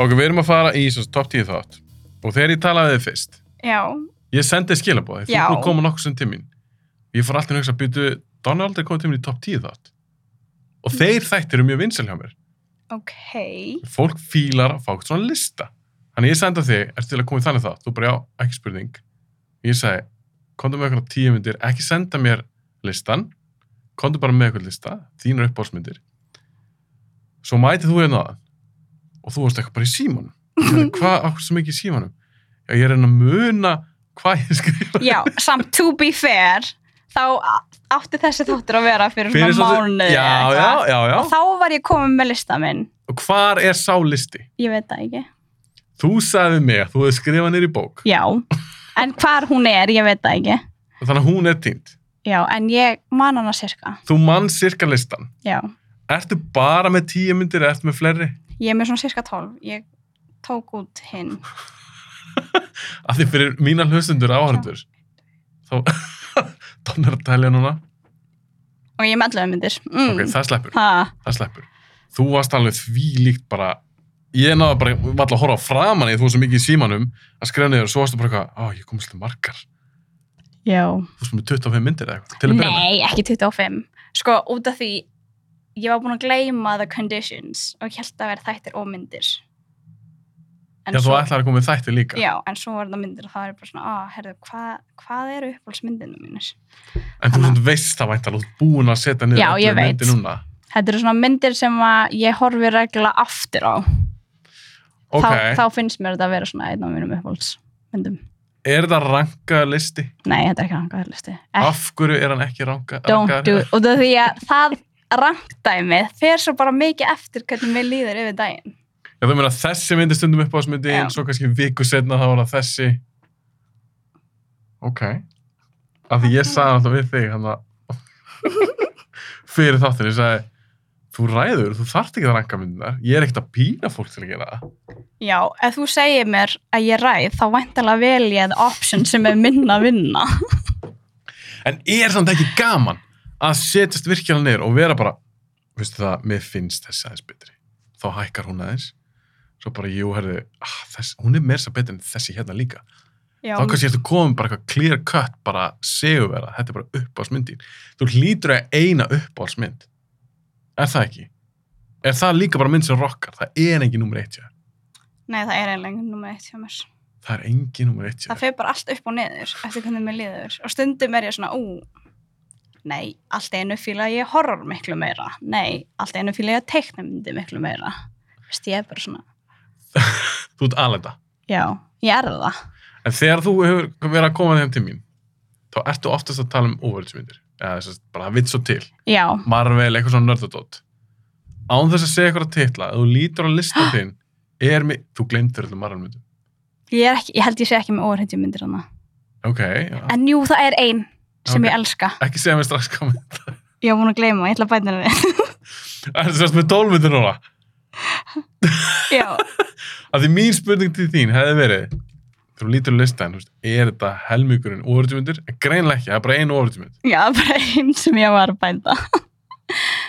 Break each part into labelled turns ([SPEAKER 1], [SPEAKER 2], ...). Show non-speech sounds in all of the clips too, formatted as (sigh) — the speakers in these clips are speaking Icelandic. [SPEAKER 1] Ok, við erum að fara í svona top 10 þátt og þegar ég talaði við þig fyrst,
[SPEAKER 2] Já,
[SPEAKER 1] ég sendi skilabóði, þú
[SPEAKER 2] Já.
[SPEAKER 1] erum koma nokkuð sem tímin. Ég fór alltaf að hugsa að byrju, Donald er komið tímin í top 10 þátt. Og þeir þættir eru mjög vinsal hjá mér.
[SPEAKER 2] ok.
[SPEAKER 1] Fólk fílar að fá eitthvað svona lista. Þannig ég sendi þig, ertu til að koma í þannig þátt? Þú bara, já, ekki spurning. Ég sagði, komdu með eitthvað tíu myndir, ekki senda mér listan, komdu bara með eitthvað lista, þínar uppbólsmyndir. Svo mætið þú hérna aðan og þú varst eitthvað bara í símanum. Ég
[SPEAKER 2] (laughs)
[SPEAKER 1] sagði, Hvað, okkur svo mikið í símanum? Já, ég er enn að muna hvað ég skrifa.
[SPEAKER 2] Já, samt to be fair, þá a- átti þessi þáttur að vera fyrir, fyrir svona
[SPEAKER 1] svolítið-
[SPEAKER 2] mánuði
[SPEAKER 1] Já, já, já, já.
[SPEAKER 2] Og þá var ég komin með lista minn.
[SPEAKER 1] Og hvar er sá listi?
[SPEAKER 2] Ég veit það ekki.
[SPEAKER 1] Þú sagði mig að þú hefði skrifað nýr í bók.
[SPEAKER 2] Já, en hvar hún er, ég veit það ekki.
[SPEAKER 1] Þannig að hún er týnd.
[SPEAKER 2] Já, en ég man hana sérska.
[SPEAKER 1] Þú mann sirka listan.
[SPEAKER 2] Já,
[SPEAKER 1] Ertu bara með tíu myndir eða ertu með fleiri?
[SPEAKER 2] ég er með svona sérska 12. Ég tók út hinn.
[SPEAKER 1] Af því fyrir mína hlustundur áhörður. Þá, (laughs) Donna er að tælja núna.
[SPEAKER 2] Og ég er með 11 myndir. Mm.
[SPEAKER 1] Ok, það sleppur,
[SPEAKER 2] Ha,
[SPEAKER 1] það sleppur. Þú varst alveg því líkt bara, ég náði bara, við varum að horfa framan í því þú varst svo mikið í símanum að skrifa niður og svo varstu bara eitthvað, á, ég komist til margar.
[SPEAKER 2] já.
[SPEAKER 1] Þú varst með 25 myndir eða eitthvað, til að byrja með.
[SPEAKER 2] Nei, ekki 25. Sko, út af því, ég var búin að gleyma the conditions og ég held að vera þættir og myndir. En
[SPEAKER 1] Já, þú ætlaði að koma með þætti líka.
[SPEAKER 2] Já, en svo var það myndir og það er bara svona, ah, herðu, hva, hvað eru uppáhaldsmyndinu mínus?
[SPEAKER 1] en þú
[SPEAKER 2] Þannig
[SPEAKER 1] svona veist það vænt alveg búin að setja niður
[SPEAKER 2] Já, ég
[SPEAKER 1] allar myndir
[SPEAKER 2] veit.
[SPEAKER 1] núna.
[SPEAKER 2] Þetta eru svona myndir sem að ég horfi regla aftur á.
[SPEAKER 1] Ok,
[SPEAKER 2] Þá, þá finnst mér þetta að vera svona einn af mínum uppáhaldsmyndum.
[SPEAKER 1] er það rankaða listi?
[SPEAKER 2] Nei, þetta er ekki rangaðar listi.
[SPEAKER 1] Af hverju er hann ekki ranka,
[SPEAKER 2] Don't do it. Og það því að það rangdæmið fer svo bara mikið eftir hvernig mér líður yfir daginn.
[SPEAKER 1] Já, þú meina þessi myndi stundum upp á smyndin,
[SPEAKER 2] Já.
[SPEAKER 1] svo kannski viku setna þá var það þessi. Ok. Af því ég sagði alltaf við þig, hann að fyrir þáttin, ég sagði, þú ræður, þú þarft ekki að ranka myndinar, ég er ekkert að pína fólk til að gera það.
[SPEAKER 2] Já, ef þú segir mér að ég ræð, þá væntalega vel ég the option sem er minna að vinna.
[SPEAKER 1] En er samt ekki gaman að setjast virkilega niður og vera bara, veistu það, mér finnst þessi aðeins betri. Þá hækkar hún aðeins, svo bara, jú, herðu, ah, þess, hún er meira svo betri en þessi hérna líka.
[SPEAKER 2] Já,
[SPEAKER 1] þá kannski ertu komin bara eitthvað clear cut bara seguvera, þetta er bara uppáhalsmyndin þú hlýtur að eiga eina uppáhalsmynd er það ekki? er það líka bara mynd sem rockar? það er engin nummer eitt hjá þér.
[SPEAKER 2] Nei, það er eiginlega nummer eitt hjá mér.
[SPEAKER 1] það er engin nummer eitt hjá
[SPEAKER 2] það
[SPEAKER 1] þér.
[SPEAKER 2] fer bara allt upp og niður eftir hvernig mér líður og stundum er ég svona, ú nei, allt einu fíla ég horror miklu meira nei, allt einu fíla ég teiknumyndi miklu meira Vist, ég er bara svona,
[SPEAKER 1] þú ert alenda
[SPEAKER 2] já, ég er það
[SPEAKER 1] en þegar þú hefur verið að koma þeim til mín þá ertu oftast að tala um overhaldsmyndir eða þess að bara vitt svo til
[SPEAKER 2] já,
[SPEAKER 1] Marvel, eitthvað svona nördadótt án þess að segja eitthvað að titla ef þú lítur á lista
[SPEAKER 2] (gasps)
[SPEAKER 1] þinn er mér, þú glemtir þetta Marvel myndum
[SPEAKER 2] ég, er ekki, ég held ég sé ekki með óhættjumyndir hana
[SPEAKER 1] ok, já.
[SPEAKER 2] en jú, það er ein sem
[SPEAKER 1] Ok.
[SPEAKER 2] ég elska
[SPEAKER 1] ekki segja mér strax komið
[SPEAKER 2] ég var búin að gleyma, ég ætla að bæta henni við (laughs)
[SPEAKER 1] Það er sérst með tólmyndir núna.
[SPEAKER 2] já,
[SPEAKER 1] Af því mín spurning til þín hefði verið, þegar þú lítur á listan, þú veist, er þetta helmingurinn ofurðjumyndir? Greinlega ekki, það er bara einu ofurðjumynd.
[SPEAKER 2] já, bara ein sem ég var að bæta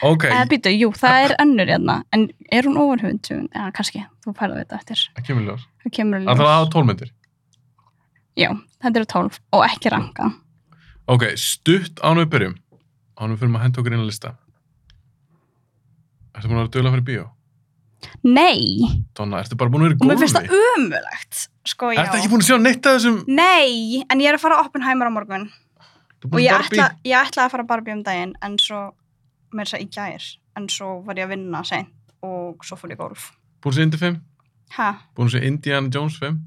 [SPEAKER 1] Ok,
[SPEAKER 2] eða býtu, jú, það er önnur hérna en er hún óhættjumynd? já, kannski, þú færðu þetta eftir
[SPEAKER 1] það kemur ljós.
[SPEAKER 2] það kemur
[SPEAKER 1] Það
[SPEAKER 2] í ljós.
[SPEAKER 1] þarf að hafa tólmyndir.
[SPEAKER 2] Já, þetta eru 12 og ekki ranka.
[SPEAKER 1] Ok, stutt ánum við byrjum. Ánum við fyrir að henda okkur inn á lista. Ertu búin að vera dögulega fyrir bíó?
[SPEAKER 2] Nei,
[SPEAKER 1] Donna, ertu bara búin að vera í
[SPEAKER 2] og mér
[SPEAKER 1] góðum
[SPEAKER 2] finnst það umulagt. Sko, já.
[SPEAKER 1] Ertu ekki búin að sjá neitt af þessum...
[SPEAKER 2] Nei, en ég er að fara á Oppenheimer á morgun
[SPEAKER 1] Þú
[SPEAKER 2] og
[SPEAKER 1] búin
[SPEAKER 2] ég
[SPEAKER 1] að
[SPEAKER 2] ætla,
[SPEAKER 1] Barbie?
[SPEAKER 2] ég ætla að fara á Barbie um daginn en svo, mér er það í gær en svo var ég að vinna seint og svo fór ég í golf.
[SPEAKER 1] Búin að sjá Indy 5?
[SPEAKER 2] Ha,
[SPEAKER 1] Búin að sjá Indiana Jones 5?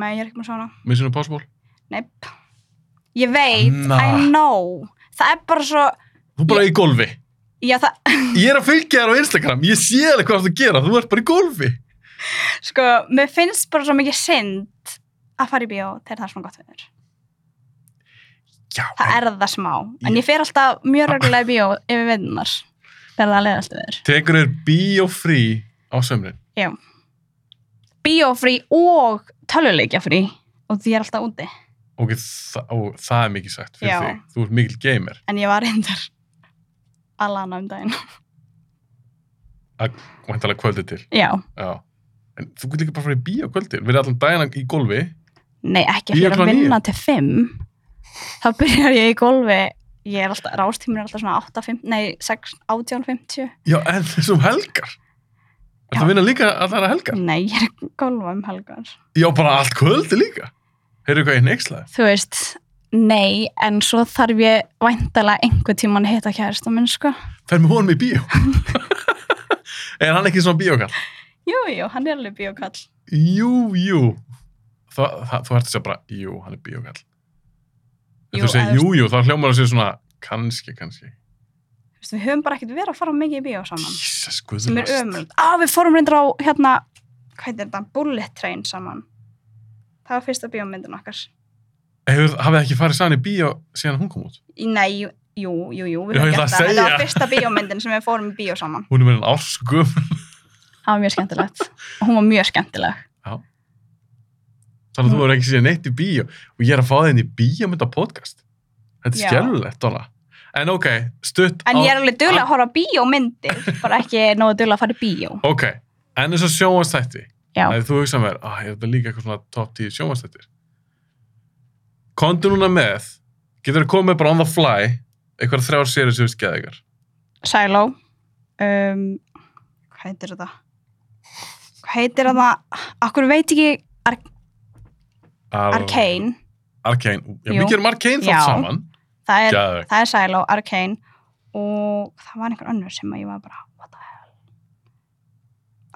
[SPEAKER 2] nei, ég er ekki með svona.
[SPEAKER 1] Mission Impossible?
[SPEAKER 2] Neip. Ég veit,
[SPEAKER 1] Anna.
[SPEAKER 2] I know. Það er bara svo,
[SPEAKER 1] Þú bara í golfi.
[SPEAKER 2] já það,
[SPEAKER 1] Ég er að fylgja þér á Instagram. Ég sé alveg hvað þú ert að gera. Þú ert bara í golfi.
[SPEAKER 2] sko, mér finnst bara svo mikið synd að fara í bíó þegar það er svona gott viður.
[SPEAKER 1] Já,
[SPEAKER 2] það er það smá en ég fer alltaf mjög reglulega í bíó yfir vinnunar þegar það leða alltaf verður
[SPEAKER 1] Tekur þér bíófrí á sömrin?
[SPEAKER 2] bíófrí og töluleikjafrí og því ég er alltaf úti
[SPEAKER 1] Ok, þa og það er mikið sagt fyrir
[SPEAKER 2] Já.
[SPEAKER 1] þig. Þú ert mikil gamer.
[SPEAKER 2] en ég var reyndar að lana um daginn
[SPEAKER 1] Væntalega kvöldið til.
[SPEAKER 2] já,
[SPEAKER 1] Já. En þú getur líka bara að fara í bíó á kvöldin, verið allan daginn í golfi.
[SPEAKER 2] Nei, ekki
[SPEAKER 1] Níu
[SPEAKER 2] fyrir að
[SPEAKER 1] klukkan níu.
[SPEAKER 2] vinna til 5 þá byrjar ég í golfi ég er alltaf, rástímur er alltaf svona 8.50 nei, 6, 18.50
[SPEAKER 1] Já, en (laughs) þessum helgar. Þetta
[SPEAKER 2] Já.
[SPEAKER 1] vinna líka að það er að helgar.
[SPEAKER 2] nei, ég er að golfa um helgar
[SPEAKER 1] Já, bara allt kvöldi líka. Heyrðu hvað ég neykslaði.
[SPEAKER 2] þú veist, nei en svo þarf ég væntalega einhver tíman að hitta kærasta minn, sko
[SPEAKER 1] Fer með honum í bíó. (laughs) er hann ekki svona bíókall?
[SPEAKER 2] jú, jú, hann er alveg bíókall
[SPEAKER 1] Jú, jú. Þa, það, þú ert að segja bara, jú, hann er bíókall. En
[SPEAKER 2] Jú,
[SPEAKER 1] þú segir,
[SPEAKER 2] eða-
[SPEAKER 1] jú, jú, þá hljómar það sér svona, kannski, kannski.
[SPEAKER 2] Þú veist, við höfum bara ekkert verið að fara mikið í bíó saman
[SPEAKER 1] Jesus,
[SPEAKER 2] sem er
[SPEAKER 1] guðlast.
[SPEAKER 2] ömult að við fórum reyndar á hérna hvað er þetta, bullet train saman það var fyrsta bíómyndin okkar
[SPEAKER 1] Hefur, hafið ekki farið saman í bíó síðan hún kom út?
[SPEAKER 2] Í- Nei, jú, jú, jú, jú við
[SPEAKER 1] Já, ég ætla
[SPEAKER 2] höfum gert
[SPEAKER 1] að
[SPEAKER 2] það. Þetta
[SPEAKER 1] segja.
[SPEAKER 2] var fyrsta bíómyndin sem við fórum í bíó saman.
[SPEAKER 1] Hún er með enn árskum.
[SPEAKER 2] Það var mjög skemmtilegt. Og Hún var mjög skemmtileg. Mm.
[SPEAKER 1] Þannig að þú verður ekki síðan neitt í bíó og ég er að fá þig inn í bíómynda podcast. Þetta er
[SPEAKER 2] Já.
[SPEAKER 1] skjálfilegt, Dóla. En ok, stutt
[SPEAKER 2] En
[SPEAKER 1] á...
[SPEAKER 2] ég er alveg duðlega að horfa á bíómyndir, bara ekki nógu duðlega að fara í bíó.
[SPEAKER 1] Ok, en þess að sjóast þætti.
[SPEAKER 2] Já.
[SPEAKER 1] Þegar þú hugsa mér, ah, er þetta líka eitthvað svona top 10 sjóast þættir? Kondu núna með, getur þú komið bara on the fly, eitthvað þrjár sérið sem við skeða ykkar.
[SPEAKER 2] Silo. Um, hvað heitir þetta? Hvað heitir þetta? Akkur veit ekki
[SPEAKER 1] Ar-
[SPEAKER 2] Arcane.
[SPEAKER 1] Arcane. Já,
[SPEAKER 2] Jú.
[SPEAKER 1] við gerum Arcane
[SPEAKER 2] Já.
[SPEAKER 1] þátt saman.
[SPEAKER 2] Það er,
[SPEAKER 1] Gæðveg.
[SPEAKER 2] það er Silo, Arcane. Og það var einhver önnur sem að ég var bara, what the hell?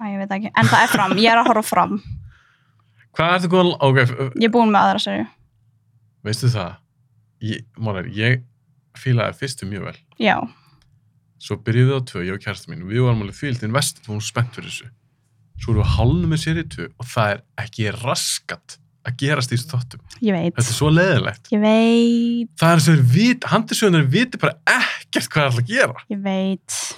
[SPEAKER 2] Æ, ég veit það ekki. En það er fram. Ég er að horfa á fram.
[SPEAKER 1] Hvað ertu góðan, ok, f-
[SPEAKER 2] Ég er búin með aðra serju.
[SPEAKER 1] veistu það? Ég, Mónar, ég fílaði fyrstu mjög vel.
[SPEAKER 2] Já.
[SPEAKER 1] Svo byrjuðu á tvö, ég og kærasta mín, við vorum alveg fíldin vest, við vorum spennt fyrir þessu. Svo erum við hálnum með sér í tvö og það er ekki raskat að gerast í þessu þáttum.
[SPEAKER 2] Ég veit.
[SPEAKER 1] Þetta er svo leðilegt.
[SPEAKER 2] Ég veit,
[SPEAKER 1] Það er sem er vit, handisöðunar viti bara ekkert hvað það ætla að gera.
[SPEAKER 2] ég veit,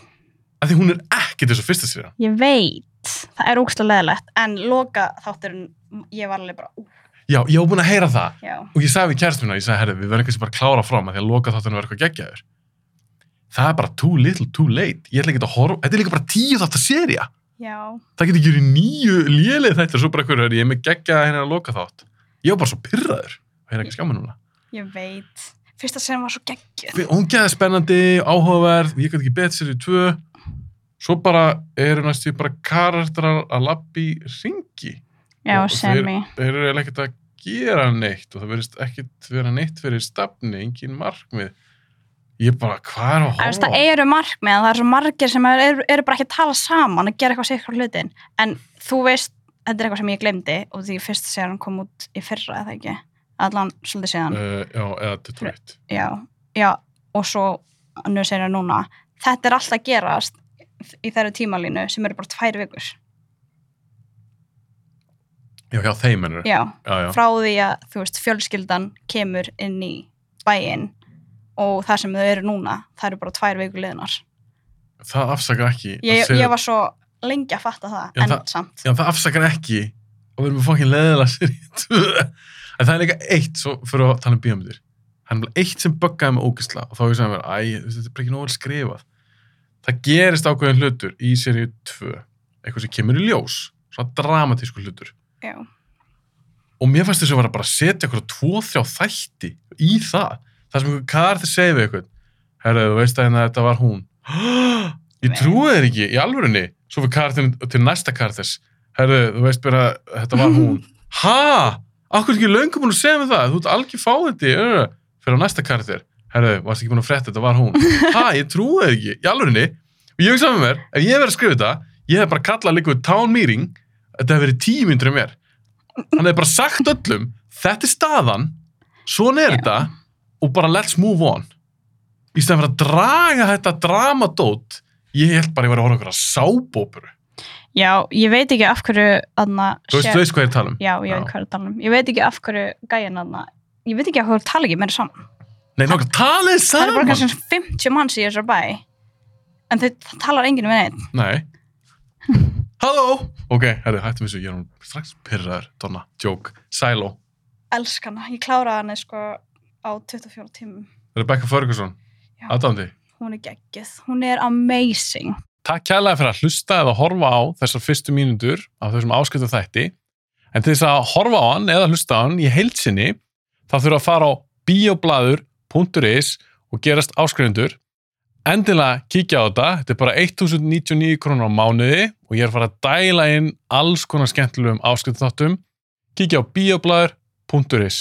[SPEAKER 1] Af því hún er ekkert þessu fyrsta sér.
[SPEAKER 2] ég veit. Það er ógstlega leðilegt. En loka þátturinn, ég var alveg bara, ú,
[SPEAKER 1] Já, ég var búin að heyra það
[SPEAKER 2] já.
[SPEAKER 1] og ég sagði við kærasta mína, ég sagði, herri, við verðum kannski bara að klára fram að því að loka þáttunum verður eitthvað geggjaður. Það er bara too little, too late. Ég ætla ekki að horfa, þetta er líka bara tíu þátt serja.
[SPEAKER 2] Já,
[SPEAKER 1] það getur ekki verið nýju lélið þetta svo bara hverju er ég er með geggja hérna að loka þátt ég var bara svo pyrraður og hérna ekki skamma núna
[SPEAKER 2] ég veit. Fyrsta serien var svo geggjöð.
[SPEAKER 1] Við- hún geði spennandi, áhugaverð ég gæti ekki betið sér í tvö svo bara eru næstu bara karakterar að lappi ringi
[SPEAKER 2] Já,
[SPEAKER 1] Og þeir-
[SPEAKER 2] semi.
[SPEAKER 1] þeir eru eiginlega ekkert að gera neitt og það verðist ekkert vera neitt fyrir stafni engin markmið ég bara, hvað er að
[SPEAKER 2] Það, veist,
[SPEAKER 1] horfa
[SPEAKER 2] það
[SPEAKER 1] á?
[SPEAKER 2] eru markmið, en það er svo margir sem eru, eru bara ekki að tala saman að gera eitthvað sér eitthvað hlutin. En þú veist, þetta er eitthvað sem ég glemdi og því fyrsta serien kom út í fyrra, eða ekki? Allan svolítið síðan.
[SPEAKER 1] Uh, já, eða Detroit
[SPEAKER 2] já, já, og svo nú segir það núna, þetta er alltaf að gerast í þeirra tímalínu sem eru bara tvær vikur
[SPEAKER 1] já, já, þeim ennur já,
[SPEAKER 2] já,
[SPEAKER 1] já,
[SPEAKER 2] frá því að þú veist, fjölskyldan kemur inn í bæinn og það sem þau eru núna, það eru bara tvær vikur liðnar
[SPEAKER 1] það afsakar ekki að
[SPEAKER 2] ég,
[SPEAKER 1] segja-
[SPEAKER 2] ég var svo lengi að fatta það
[SPEAKER 1] Já,
[SPEAKER 2] en
[SPEAKER 1] það-
[SPEAKER 2] samt,
[SPEAKER 1] Já, það afsakar ekki og við erum að fokkin leðilega sér í tvö. En það er líka eitt, svo fyrir að tala um bíómyndir. Það er nefnilega eitt sem böggaði mig ógisla og þá hugsaði ég sem mér, æ, þetta er bara ekki nóg vel skrifað. Það gerist ákveðin hlutur í seríu 2, eitthvað sem kemur í ljós, svona dramatísku hlutur.
[SPEAKER 2] já,
[SPEAKER 1] Og mér fannst þess að vera bara að setja eitthvað tvo, þrjá þætti í það. Það sem einhver kar þeir segja við eitthvað, herra, þú veist að hérna þetta var hún. (gasps) Ég trúi þér ekki, í alvörunni. Svo fyrir kartin til næsta kartis, herra, þú veist bara, þetta var hún. ha? Akkur er ekki löngum búin að segja mig það? Þú ert algjör fáiði, öö, fyrir á næsta kartir. Herra, varst ekki búin að frétta, þetta var hún. ha, ég trúi þér ekki, í alvörunni. Og ég hugsa með mér, ef ég hef verið að skrifa þetta, ég hef bara kallað líka við town meeting, þetta hef verið tíu myndur um mér. Hann hef bara sagt öllum, þetta er staðan, svona er
[SPEAKER 2] Já.
[SPEAKER 1] þetta, og bara let's move on. Í stæðan fyrir að draga þetta dramadót, ég held bara að ég var að horfa okkur að sábópuru.
[SPEAKER 2] já, ég veit ekki af hverju aðna,
[SPEAKER 1] Þú veist, þú veist hvað ég er að tala um?
[SPEAKER 2] já, ég
[SPEAKER 1] Já.
[SPEAKER 2] veit hvað er að tala um ég veit ekki af hverju gæjan aðna ég veit ekki af hverju tala ekki meira saman
[SPEAKER 1] Nei, nákvæmlega, talið
[SPEAKER 2] það eru bara
[SPEAKER 1] saman!
[SPEAKER 2] kannski 50 manns í þessu bæ en þau það talar enginn við neitt
[SPEAKER 1] Nei. Halló! Ok, herri, hættum þessu, ég er hún strax pyrraður, donna, joke, silo.
[SPEAKER 2] elsk hana, ég kláraði hana sko á 24 tímum
[SPEAKER 1] Rebecca Ferguson,
[SPEAKER 2] Já.
[SPEAKER 1] aðdándi.
[SPEAKER 2] hún er geggið, hún er amazing
[SPEAKER 1] Takk kærlega fyrir að hlusta eða horfa á þessar fyrstu mínútur af þessum áskiptu þætti. En til þess að horfa á hann eða hlusta á hann í heilsinni, þá þurfa að fara á bioblaður.is og gerast áskrifundur. Endilega kíkja á þetta, þetta er bara 1099 krónur á mánuði og ég er að fara að dæla inn alls konar skemmtilegum áskiptu þáttum. Kíkja á bioblaður.is.